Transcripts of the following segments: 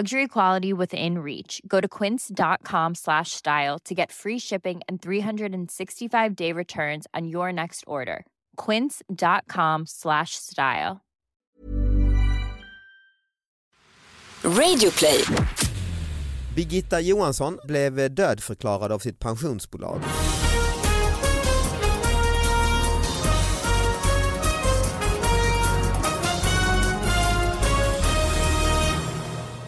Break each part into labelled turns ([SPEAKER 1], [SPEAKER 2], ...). [SPEAKER 1] Luxury quality within reach. Go to quince.com slash style to get free shipping and 365 day returns on your next order. Quince.com slash style.
[SPEAKER 2] Radio play.
[SPEAKER 3] Birgitta Johansson blev dödförklarad av sitt pensionsbolag.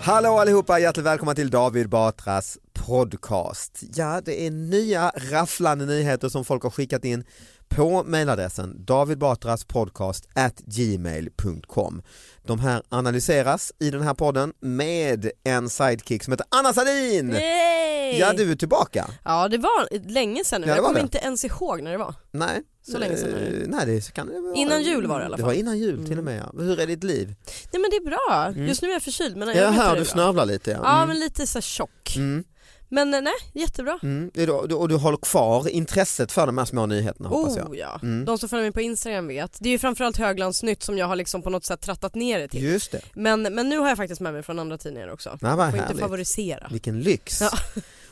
[SPEAKER 3] Hallå allihopa, hjärtligt välkomna till David Batras podcast. Ja, det är nya rafflande nyheter som folk har skickat in på mejladressen davidbatraspodcast at gmail.com. De här analyseras i den här podden med en sidekick som heter Anna Salin.
[SPEAKER 4] Yay!
[SPEAKER 3] Ja, du är tillbaka.
[SPEAKER 4] Ja, det var länge sedan nu.
[SPEAKER 3] Ja, det
[SPEAKER 4] jag
[SPEAKER 3] var
[SPEAKER 4] kommer
[SPEAKER 3] det.
[SPEAKER 4] inte ens ihåg när det var.
[SPEAKER 3] Nej,
[SPEAKER 4] Så länge sedan är det.
[SPEAKER 3] Eh, Nej, det så kan det vara.
[SPEAKER 4] Innan jul var det i alla
[SPEAKER 3] Det var innan jul till och med. Ja. Hur är ditt liv?
[SPEAKER 4] Nej men det är bra. Just nu är jag förkyld men jag,
[SPEAKER 3] Mm. Jag,
[SPEAKER 4] vet att
[SPEAKER 3] hör
[SPEAKER 4] det är
[SPEAKER 3] du
[SPEAKER 4] bra.
[SPEAKER 3] snörvlar lite. Ja.
[SPEAKER 4] Ja
[SPEAKER 3] Mm.
[SPEAKER 4] men lite så här tjock.
[SPEAKER 3] Mm.
[SPEAKER 4] Men eh, nej, jättebra.
[SPEAKER 3] Mm. Det är då- Och du håller kvar intresset för de här små nyheterna hoppas jag.
[SPEAKER 4] Oh ja.
[SPEAKER 3] Mm.
[SPEAKER 4] De som följer mig på Instagram vet. Det är ju framförallt Höglandsnytt som jag har liksom på något sätt trattat ner det till.
[SPEAKER 3] Just det.
[SPEAKER 4] Men, men nu har jag faktiskt med mig från andra tidningar också.
[SPEAKER 3] Nej, vad
[SPEAKER 4] Får inte
[SPEAKER 3] härligt.
[SPEAKER 4] favorisera.
[SPEAKER 3] Vilken lyx.
[SPEAKER 4] Ja.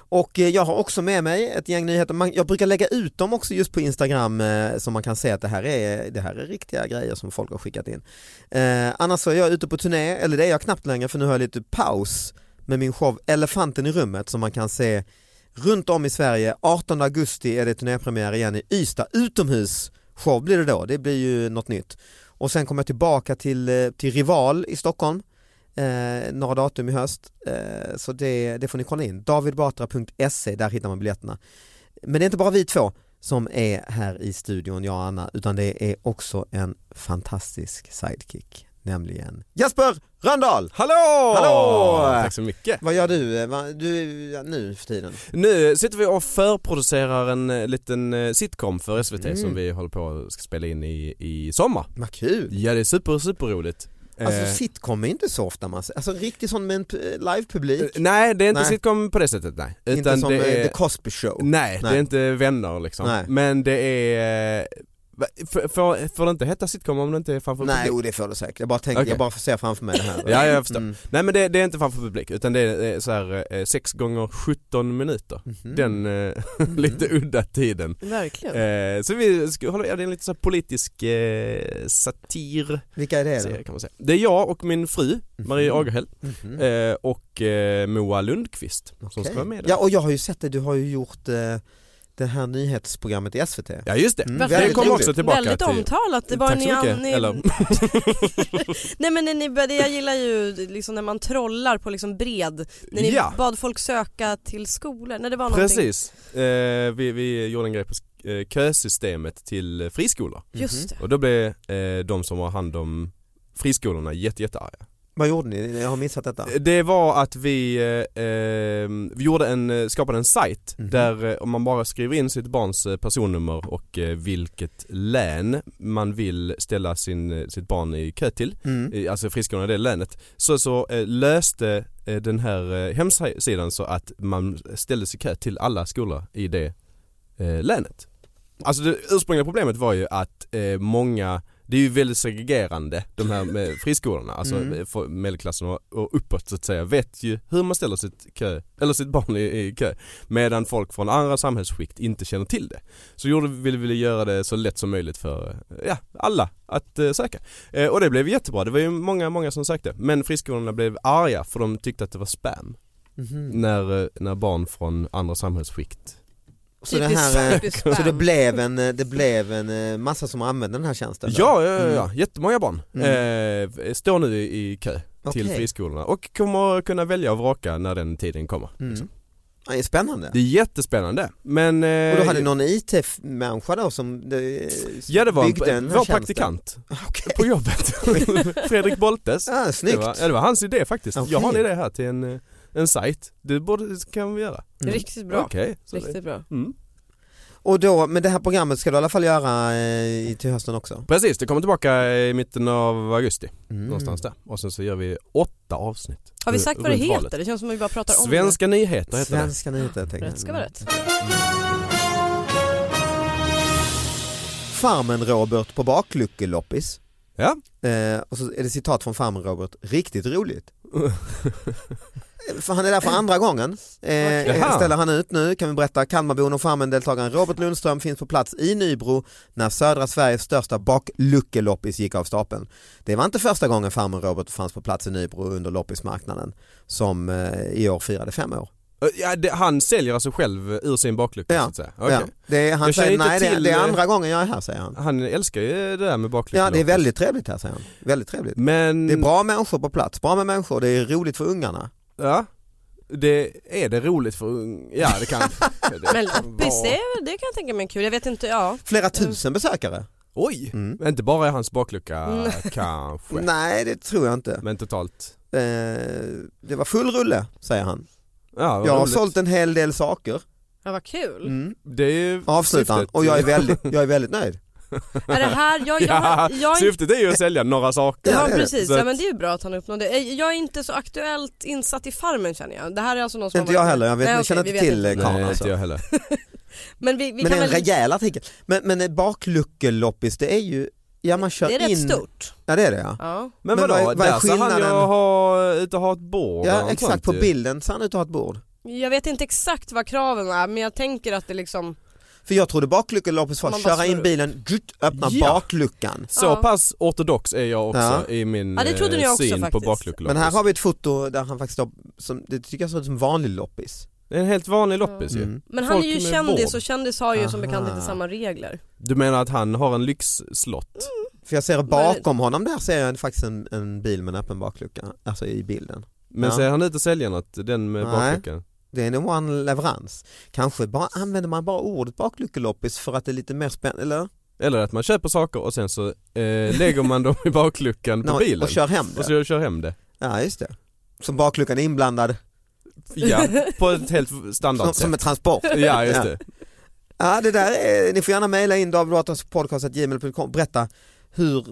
[SPEAKER 3] Och eh, jag har också med mig ett gäng nyheter, Man- jag brukar lägga ut dem också just på Instagram eh, så man kan se att det här är, det här är riktiga grejer som folk har skickat in. Eh, annars så är jag ute på turné, eller det är jag knappt längre för nu har jag lite paus med min show Elefanten i rummet som man kan se runt om i Sverige. 18 augusti är det turnépremiär igen i Ystad, utomhus show blir det då, det blir ju något nytt. Och sen kommer jag tillbaka till, eh, till Rival i Stockholm eh, några datum i höst. Eh, så det, det får ni kolla in. Davidbatra.se, där hittar man biljetterna. Men det är inte bara vi två som är här i studion, jag och Anna, utan det är också en fantastisk sidekick, nämligen Jesper Röndahl!
[SPEAKER 5] Hallå!
[SPEAKER 3] Hallå!
[SPEAKER 5] Tack så mycket.
[SPEAKER 3] Vad gör du, eh, va- du ja, nu för tiden?
[SPEAKER 5] Nu sitter vi och förproducerar en eh, liten eh, sitcom för SVT
[SPEAKER 3] Mm.
[SPEAKER 5] som vi håller på och ska spela in i, i sommar.
[SPEAKER 3] Vad kul!
[SPEAKER 5] Ja det är super, Eh, super roligt.
[SPEAKER 3] Alltså sitcom är inte så ofta man ser, alltså riktigt sån med en p- livepublik,
[SPEAKER 5] eh, nej det är inte
[SPEAKER 3] Nej.
[SPEAKER 5] sitcom på det sättet nej.
[SPEAKER 3] inte som
[SPEAKER 5] det
[SPEAKER 3] eh,
[SPEAKER 5] är,
[SPEAKER 3] The Cosby Show.
[SPEAKER 5] nej,
[SPEAKER 3] Nej.
[SPEAKER 5] det är inte vänner liksom.
[SPEAKER 3] Nej.
[SPEAKER 5] Men det är, eh, va- f- får, får det inte heta sitcom om det inte är framför
[SPEAKER 3] Nej,
[SPEAKER 5] publik?
[SPEAKER 3] jo, det får du säkert. Jag bara tänkte,
[SPEAKER 5] Okej.
[SPEAKER 3] jag bara ser framför mig det här.
[SPEAKER 5] Ja, jag förstår.
[SPEAKER 3] Mm.
[SPEAKER 5] Nej men det, det är inte framför publik utan det är eh, så här eh, 6 gånger 17 minuter.
[SPEAKER 3] Mhm.
[SPEAKER 5] Den eh, lite udda tiden.
[SPEAKER 4] Verkligen.
[SPEAKER 5] Eh, så vi ska hålla, ja, det är en lite så här politisk eh, satir
[SPEAKER 3] Vilka är det då?
[SPEAKER 5] serie kan man säga. Det är jag och min fru Marie
[SPEAKER 3] Mhm.
[SPEAKER 5] Agerhäll
[SPEAKER 3] Mhm.
[SPEAKER 5] eh, och eh, Moa Lundqvist som ska
[SPEAKER 3] Okej.
[SPEAKER 5] vara med där.
[SPEAKER 3] Ja och jag har ju sett det, du har ju gjort eh, det här nyhetsprogrammet i SVT.
[SPEAKER 5] Ja just det,
[SPEAKER 3] Mm.
[SPEAKER 5] det
[SPEAKER 4] Väldigt
[SPEAKER 5] kommer
[SPEAKER 3] roligt.
[SPEAKER 5] också tillbaka
[SPEAKER 4] Väldigt
[SPEAKER 5] till
[SPEAKER 4] omtalat. Det var
[SPEAKER 5] Tack
[SPEAKER 4] ni,
[SPEAKER 5] så mycket.
[SPEAKER 4] Ni,
[SPEAKER 5] Eller,
[SPEAKER 4] Nej men när ni började, jag gillar ju liksom när man trollar på liksom bred, när ni
[SPEAKER 5] Ja.
[SPEAKER 4] bad folk söka till skolor, när det var någonting.
[SPEAKER 5] precis, eh, vi, vi gjorde en grej på sk- eh, kösystemet till eh, friskolor
[SPEAKER 3] Mhm.
[SPEAKER 4] Just det.
[SPEAKER 5] och då blev eh, de som har hand om friskolorna jätte, jättearga.
[SPEAKER 3] Vad gjorde ni? Jag har missat detta.
[SPEAKER 5] Det var att vi, eh, eh, vi gjorde en, eh, skapade en sajt
[SPEAKER 3] Mhm.
[SPEAKER 5] där eh, om man bara skriver in sitt barns eh, personnummer och eh, vilket län man vill ställa sin, eh, sitt barn i kö till,
[SPEAKER 3] Mm.
[SPEAKER 5] i- alltså friskolorna i det länet, så, så eh, löste eh, den här eh, hemsidan så att man ställde sig i kö till alla skolor i det eh, länet. Alltså det ursprungliga problemet var ju att eh, många, det är ju väldigt segregerande de här med friskolorna, alltså
[SPEAKER 3] Mm.
[SPEAKER 5] mm. medelklassen och, och uppåt så att säga vet ju hur man ställer sitt, kö, eller sitt barn i, i kö medan folk från andra samhällsskikt inte känner till det. Så gjorde, ville vi göra det så lätt som möjligt för eh, ja, alla att eh, söka. Eh, och det blev jättebra, det var ju många, många som sökte. Men friskolorna blev arga för de tyckte att det var spam
[SPEAKER 3] Mhm.
[SPEAKER 5] när, eh, när barn från andra samhällsskikt
[SPEAKER 3] Så, det
[SPEAKER 4] Typiskt-
[SPEAKER 3] här, eh,
[SPEAKER 4] typiskt
[SPEAKER 3] så det
[SPEAKER 4] spam.
[SPEAKER 3] blev en, eh, det blev en eh, massa som använde den här tjänsten? då?
[SPEAKER 5] Ja, ja, ja, ja.
[SPEAKER 3] Mm.
[SPEAKER 5] jättemånga barn eh, står nu i, i kö till
[SPEAKER 3] Okej.
[SPEAKER 5] friskolorna och kommer kunna välja och vraka när den tiden kommer.
[SPEAKER 3] Mm. Ja, det är spännande.
[SPEAKER 5] Det är jättespännande men... eh,
[SPEAKER 3] Och då hade någon IT-människa då som eh,
[SPEAKER 5] Ja det var en,
[SPEAKER 3] byggde den här
[SPEAKER 5] vår
[SPEAKER 3] tjänsten. Ah,
[SPEAKER 5] praktikant
[SPEAKER 3] Okej.
[SPEAKER 5] på jobbet, Fredrik Boltes.
[SPEAKER 3] Ah,
[SPEAKER 5] Det
[SPEAKER 3] snyggt.
[SPEAKER 5] var, ja, det var hans idé faktiskt. Jag har en
[SPEAKER 3] Okej.
[SPEAKER 5] idé här till en, eh, en sajt, det borde, kan vi göra.
[SPEAKER 3] Mm.
[SPEAKER 4] Riktigt bra.
[SPEAKER 5] Okej. så det-
[SPEAKER 4] Riktigt bra.
[SPEAKER 5] Mm.
[SPEAKER 3] Och då, men det här programmet ska du i alla fall göra eh, i- till hösten också?
[SPEAKER 5] Precis, det kommer tillbaka i mitten av augusti
[SPEAKER 3] Mm.
[SPEAKER 5] någonstans där. Och sen så gör vi åtta avsnitt.
[SPEAKER 4] Har vi sagt vad det
[SPEAKER 5] runt
[SPEAKER 4] heter?
[SPEAKER 5] valet.
[SPEAKER 4] Det känns som att vi bara pratar om
[SPEAKER 5] Svenska nyheter heter det.
[SPEAKER 3] Svenska nyheter jag
[SPEAKER 4] det.
[SPEAKER 3] tänker
[SPEAKER 4] Rätt ska vara rätt.
[SPEAKER 3] Mm. Farmen-Robert på bakluckeloppis.
[SPEAKER 5] Ja.
[SPEAKER 3] Eh, och så är det citat från Farmen-Robert, riktigt roligt. För han är där för andra gången. Eh,
[SPEAKER 5] Jaha.
[SPEAKER 3] ställer han ut nu kan vi berätta. Kalmarbon och Farmen-deltagaren Robert Lundström finns på plats i Nybro när södra Sveriges största bakluckeloppis gick av stapeln. Det var inte första gången Farmen-Robert fanns på plats i Nybro under loppismarknaden som eh, i år firade fem år.
[SPEAKER 5] Eh, Ja, det, han säljer alltså själv ur sin baklucka
[SPEAKER 3] Ja.
[SPEAKER 5] så att säga. Okej.
[SPEAKER 3] Ja, det är, han
[SPEAKER 5] Jag känner
[SPEAKER 3] säger
[SPEAKER 5] inte
[SPEAKER 3] nej det,
[SPEAKER 5] till-
[SPEAKER 3] det är andra gången jag är här säger han.
[SPEAKER 5] Han älskar ju det där med bakluckan.
[SPEAKER 3] Ja det är väldigt trevligt här säger han. Väldigt trevligt.
[SPEAKER 5] Men,
[SPEAKER 3] Det är bra människor på plats, bra med människor, det är roligt för ungarna.
[SPEAKER 5] ja, det, är det roligt för ung- Ja det kan det
[SPEAKER 4] Men
[SPEAKER 5] kan
[SPEAKER 4] loppis,
[SPEAKER 5] vara-
[SPEAKER 4] det, är väl- det kan jag tänka mig är kul. Jag vet inte, ja.
[SPEAKER 3] Flera tusen besökare?
[SPEAKER 5] Oj!
[SPEAKER 3] Mm.
[SPEAKER 5] Men inte bara i hans baklucka kanske.
[SPEAKER 3] Nej det tror jag inte.
[SPEAKER 5] Men totalt.
[SPEAKER 3] Eh, det var full rulle säger han.
[SPEAKER 5] Ja, vad
[SPEAKER 3] Jag har
[SPEAKER 5] roligt.
[SPEAKER 3] sålt en hel del saker,
[SPEAKER 4] Ja, vad kul.
[SPEAKER 3] mm.
[SPEAKER 5] Det är ju
[SPEAKER 3] avslutar han.
[SPEAKER 5] syftet.
[SPEAKER 3] Och jag är väldigt, jag är väldigt nöjd.
[SPEAKER 4] Är det här, jag, jag,
[SPEAKER 5] Ja,
[SPEAKER 4] har- jag, jag,
[SPEAKER 5] syftet är ju att sälja några saker.
[SPEAKER 4] Ja
[SPEAKER 3] det är det.
[SPEAKER 4] precis,
[SPEAKER 5] Så att-
[SPEAKER 4] ja, men det är ju bra att han uppnådde det. Eh, Jag är inte så aktuellt insatt i Farmen känner jag. Det här är alltså någon som
[SPEAKER 3] Inte
[SPEAKER 4] har varit
[SPEAKER 3] jag heller,
[SPEAKER 4] med.
[SPEAKER 3] jag, vet,
[SPEAKER 4] Nej,
[SPEAKER 3] jag
[SPEAKER 4] okej,
[SPEAKER 3] känner
[SPEAKER 4] vi
[SPEAKER 3] inte
[SPEAKER 4] vet
[SPEAKER 3] till eh, karln
[SPEAKER 5] Nej,
[SPEAKER 3] alltså.
[SPEAKER 5] inte jag heller.
[SPEAKER 4] Men vi, vi
[SPEAKER 3] Men det
[SPEAKER 4] kan
[SPEAKER 3] är en
[SPEAKER 4] väl...
[SPEAKER 3] rejäl artikel. Men, men eh, bakluckeloppis det är ju, ja man kör
[SPEAKER 4] Det är rätt
[SPEAKER 3] in.
[SPEAKER 4] stort.
[SPEAKER 3] Ja det är det ja.
[SPEAKER 4] Ja.
[SPEAKER 5] Men,
[SPEAKER 3] Men
[SPEAKER 5] vadå,
[SPEAKER 3] vad är- vad är
[SPEAKER 5] där ser han ju
[SPEAKER 3] skillnaden?
[SPEAKER 5] ha, ut och ha ett bord eller
[SPEAKER 3] Ja
[SPEAKER 5] något
[SPEAKER 3] exakt,
[SPEAKER 5] sånt
[SPEAKER 3] på
[SPEAKER 5] ju.
[SPEAKER 3] bilden ser han ut att ha ett bord.
[SPEAKER 4] Jag vet inte exakt vad kraven är men jag tänker att det liksom...
[SPEAKER 3] För jag trodde bakluckeloppis var
[SPEAKER 4] Man
[SPEAKER 3] att
[SPEAKER 4] bara
[SPEAKER 3] köra
[SPEAKER 4] slår
[SPEAKER 3] in
[SPEAKER 4] upp.
[SPEAKER 3] bilen, djut, öppna
[SPEAKER 5] Ja.
[SPEAKER 3] bakluckan.
[SPEAKER 5] Så
[SPEAKER 4] Ja.
[SPEAKER 5] pass ortodox är jag också
[SPEAKER 3] Ja.
[SPEAKER 5] i min
[SPEAKER 4] Ja, det trodde
[SPEAKER 5] eh,
[SPEAKER 4] jag också
[SPEAKER 5] syn på
[SPEAKER 4] faktiskt.
[SPEAKER 5] bakluckeloppis.
[SPEAKER 3] Men här har vi ett foto där han faktiskt står, som, det tycker jag ser ut som vanlig loppis.
[SPEAKER 5] Det är en helt vanlig loppis ju.
[SPEAKER 3] Mm.
[SPEAKER 4] Men han
[SPEAKER 5] Folk
[SPEAKER 4] är ju
[SPEAKER 5] med
[SPEAKER 4] kändis
[SPEAKER 5] vård.
[SPEAKER 4] och kändis har ju som bekant
[SPEAKER 3] Aha.
[SPEAKER 4] inte samma regler.
[SPEAKER 5] Du menar att han har en lyxslott?
[SPEAKER 4] Mm.
[SPEAKER 3] För jag ser bakom honom där ser jag en- faktiskt en, en bil med en öppen baklucka, alltså i bilden.
[SPEAKER 5] Men
[SPEAKER 3] Ja.
[SPEAKER 5] ser han ut att sälja något, den med
[SPEAKER 3] Nej.
[SPEAKER 5] bakluckan?
[SPEAKER 3] Det är nog en leverans. Kanske bara, använder man bara ordet bakluckeloppis för att det är lite mer spännande, eller?
[SPEAKER 5] Eller att man köper saker och sen så eh, lägger man dem i bakluckan på
[SPEAKER 3] Nå,
[SPEAKER 5] bilen
[SPEAKER 3] Och kör hem
[SPEAKER 5] och
[SPEAKER 3] det.
[SPEAKER 5] så kör hem det.
[SPEAKER 3] Ja just det. Som bakluckan är inblandad,
[SPEAKER 5] Ja, på ett helt
[SPEAKER 3] som,
[SPEAKER 5] standard
[SPEAKER 3] som en
[SPEAKER 5] sätt.
[SPEAKER 3] transport.
[SPEAKER 5] Ja, just
[SPEAKER 3] Ja.
[SPEAKER 5] det.
[SPEAKER 3] Ja det där är, ni får gärna mejla in davidbatraspodcast.gmail.com, berätta hur, eh,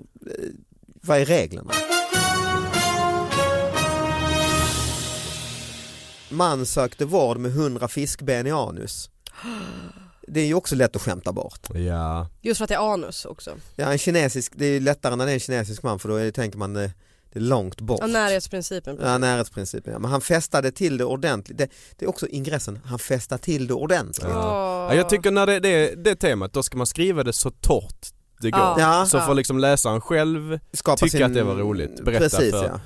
[SPEAKER 3] vad är reglerna? Man sökte vård med 100 fiskben i anus. Det är ju också lätt att skämta bort.
[SPEAKER 5] Ja.
[SPEAKER 4] Just för att det är anus också.
[SPEAKER 3] Ja, en kinesisk, det är ju lättare när det är en kinesisk man för då är, tänker man eh, det är långt bort.
[SPEAKER 4] Ja, närhetsprincipen.
[SPEAKER 3] Ja, närhetsprincipen. Ja. Men han fästade till det ordentligt. Det, det är också ingressen, han fästade till det ordentligt.
[SPEAKER 5] Ja, jag tycker när det, det det är temat, då ska man skriva det så torrt det går.
[SPEAKER 4] Ja.
[SPEAKER 3] Ja,
[SPEAKER 5] Så får liksom läsaren själv,
[SPEAKER 3] skapa
[SPEAKER 5] tycka att det var roligt. Berätta
[SPEAKER 3] Precis,
[SPEAKER 5] för-
[SPEAKER 3] ja.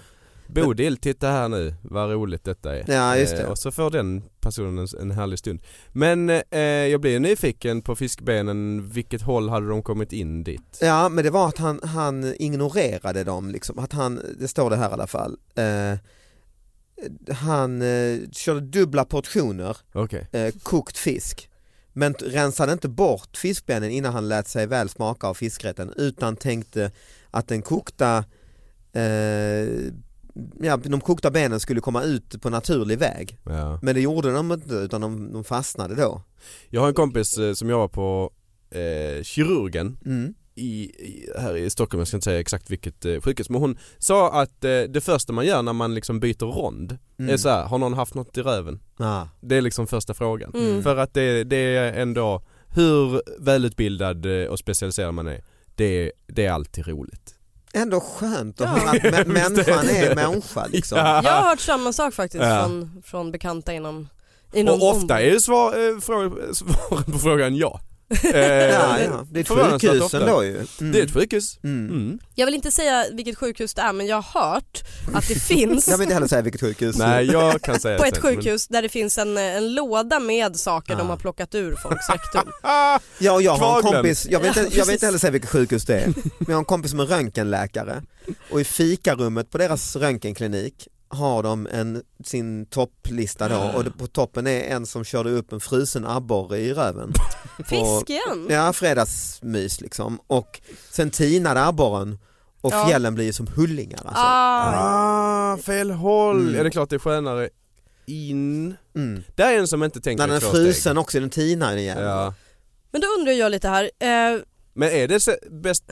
[SPEAKER 5] Bodil titta här nu vad roligt detta är.
[SPEAKER 3] Ja, just det.
[SPEAKER 5] Eh, Och så får den personen en- en härlig stund. Men eh, jag blir ju nyfiken på fiskbenen, vilket håll hade de kommit in dit?
[SPEAKER 3] Ja men det var att han, han ignorerade dem liksom, att han, det står det här i alla fall. Eh, han eh, körde dubbla portioner
[SPEAKER 5] Okej.
[SPEAKER 3] eh, kokt fisk. Men t- rensade inte bort fiskbenen innan han lät sig väl smaka av fiskrätten utan tänkte att den kokta eh, ja, de kokta benen skulle komma ut på naturlig väg.
[SPEAKER 5] Ja.
[SPEAKER 3] Men det gjorde de inte utan de, de fastnade då.
[SPEAKER 5] Jag har en kompis eh, som jobbar på eh, kirurgen
[SPEAKER 3] Mm.
[SPEAKER 5] i, i, här i Stockholm, jag ska inte säga exakt vilket eh, sjukhus, men hon sa att eh, det första man gör när man liksom byter rond
[SPEAKER 3] Mm.
[SPEAKER 5] är så här, har någon haft något i röven?
[SPEAKER 3] Ah.
[SPEAKER 5] Det är liksom första frågan.
[SPEAKER 4] Mm.
[SPEAKER 5] För att det, det är ändå hur välutbildad eh, och specialiserad man är, det, det är alltid roligt.
[SPEAKER 3] Ändå skönt att
[SPEAKER 4] Ja.
[SPEAKER 3] höra att mä- människan är människa liksom.
[SPEAKER 5] Ja.
[SPEAKER 4] Jag har hört samma sak faktiskt
[SPEAKER 5] Ja.
[SPEAKER 4] från, från bekanta inom, inom
[SPEAKER 5] Och ofta är svar, eh, frå, svaren på frågan ja. Eh,
[SPEAKER 3] Ja, ja. Det är ett
[SPEAKER 5] Förvånansvärt
[SPEAKER 3] sjukhus
[SPEAKER 5] ofta.
[SPEAKER 3] ändå ju. Mm.
[SPEAKER 5] Det är ett sjukhus.
[SPEAKER 3] Mm.
[SPEAKER 5] Mm.
[SPEAKER 4] Jag vill inte säga vilket sjukhus det är men jag har hört att det finns
[SPEAKER 3] Jag vill inte heller säga vilket sjukhus.
[SPEAKER 5] Nej jag kan säga
[SPEAKER 4] på
[SPEAKER 5] det
[SPEAKER 4] ett
[SPEAKER 5] sen, men-
[SPEAKER 4] sjukhus där det finns en, en låda med saker de
[SPEAKER 3] Ah.
[SPEAKER 4] har plockat ur folks rektum.
[SPEAKER 5] Ah,
[SPEAKER 3] Ja, och jag har en
[SPEAKER 5] Kvaglen.
[SPEAKER 3] kompis, jag vill,
[SPEAKER 4] Ja,
[SPEAKER 3] inte, jag vill
[SPEAKER 4] precis.
[SPEAKER 3] inte heller säga vilket sjukhus det är, men jag har en kompis som är röntgenläkare och i fikarummet på deras röntgenklinik har de en, sin topplista då och det- på toppen är en som körde upp en frusen abborre i röven. På-
[SPEAKER 4] Fisk igen!
[SPEAKER 3] Ja, fredagsmys liksom och sen tinade abborren och
[SPEAKER 4] Ja.
[SPEAKER 3] fjällen blir ju som hullingar alltså.
[SPEAKER 4] Ah,
[SPEAKER 5] ah fel håll.
[SPEAKER 3] Mm.
[SPEAKER 5] Är det klart det är skönare in?
[SPEAKER 3] Mm.
[SPEAKER 5] Där är en som inte tänker
[SPEAKER 3] När den är
[SPEAKER 5] två
[SPEAKER 3] frusen också, den tinar ju igen.
[SPEAKER 5] steg. Ja.
[SPEAKER 4] men då undrar jag lite här, eh,
[SPEAKER 5] Men är det se- bäst,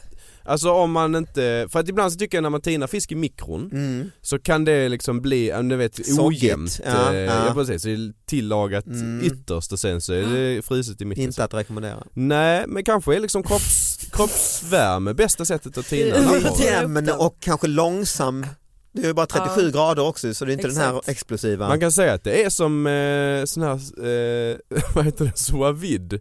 [SPEAKER 5] alltså om man inte, för att ibland så tycker jag när man tinar fisk i mikron
[SPEAKER 3] Mm.
[SPEAKER 5] så kan det liksom bli, ja, men du vet
[SPEAKER 3] Soggigt.
[SPEAKER 5] ojämnt.
[SPEAKER 3] Ja,
[SPEAKER 5] eh,
[SPEAKER 3] ja.
[SPEAKER 5] ja precis, så det är tillagat
[SPEAKER 3] Mm. Ah.
[SPEAKER 5] ytterst och sen så är det fruset i mitten.
[SPEAKER 3] Inte att rekommendera.
[SPEAKER 5] Nej men kanske är liksom kropps, kroppsvärme bästa sättet att tina en
[SPEAKER 4] Ja,
[SPEAKER 5] abborre.
[SPEAKER 4] tinar upp
[SPEAKER 3] Jämn
[SPEAKER 4] den.
[SPEAKER 3] och kanske långsam. Det är ju bara 37
[SPEAKER 4] Ja.
[SPEAKER 3] grader också så det är inte den här
[SPEAKER 4] Exakt.
[SPEAKER 3] explosiva.
[SPEAKER 5] Man kan säga att det är som eh, sån här, eh, vad heter det, sous vide.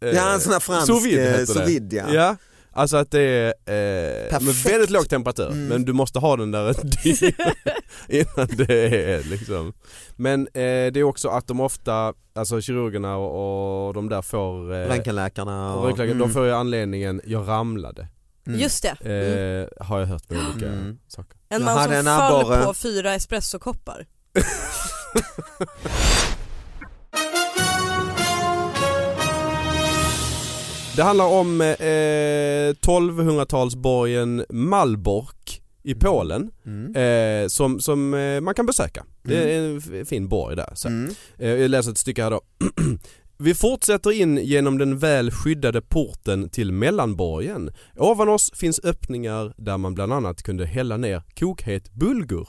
[SPEAKER 5] Eh,
[SPEAKER 3] Ja, en sån här fransk
[SPEAKER 5] sous vide
[SPEAKER 3] eh,
[SPEAKER 5] heter
[SPEAKER 3] sous
[SPEAKER 5] det.
[SPEAKER 3] vide, ja.
[SPEAKER 5] Ja, alltså att det är eh, med
[SPEAKER 3] Perfekt.
[SPEAKER 5] väldigt låg temperatur
[SPEAKER 3] Mm.
[SPEAKER 5] men du måste ha den där en tid innan det är liksom. Men eh, det är också att de ofta, alltså kirurgerna och, och de där får eh,
[SPEAKER 3] Röntgenläkarna och...
[SPEAKER 5] röntgenläkare,
[SPEAKER 4] Mm.
[SPEAKER 5] de får ju anledningen, jag ramlade.
[SPEAKER 3] Mm.
[SPEAKER 4] just det.
[SPEAKER 5] Eh,
[SPEAKER 4] Mm.
[SPEAKER 5] Har jag hört på olika
[SPEAKER 3] Mm.
[SPEAKER 5] saker.
[SPEAKER 4] En
[SPEAKER 3] jag
[SPEAKER 4] man som
[SPEAKER 3] hade en
[SPEAKER 4] föll
[SPEAKER 3] abborre.
[SPEAKER 4] på fyra espressokoppar.
[SPEAKER 5] Det handlar om eh, 1200-talsborgen Malbork i Polen
[SPEAKER 3] Mm.
[SPEAKER 5] eh, som, som eh, man kan besöka. Det är en f- fin borg där. Så.
[SPEAKER 3] Mm.
[SPEAKER 5] Eh, jag läser ett stycke här då. Vi fortsätter in genom den väl skyddade porten till mellanborgen. Ovan oss finns öppningar där man bland annat kunde hälla ner kokhet bulgur.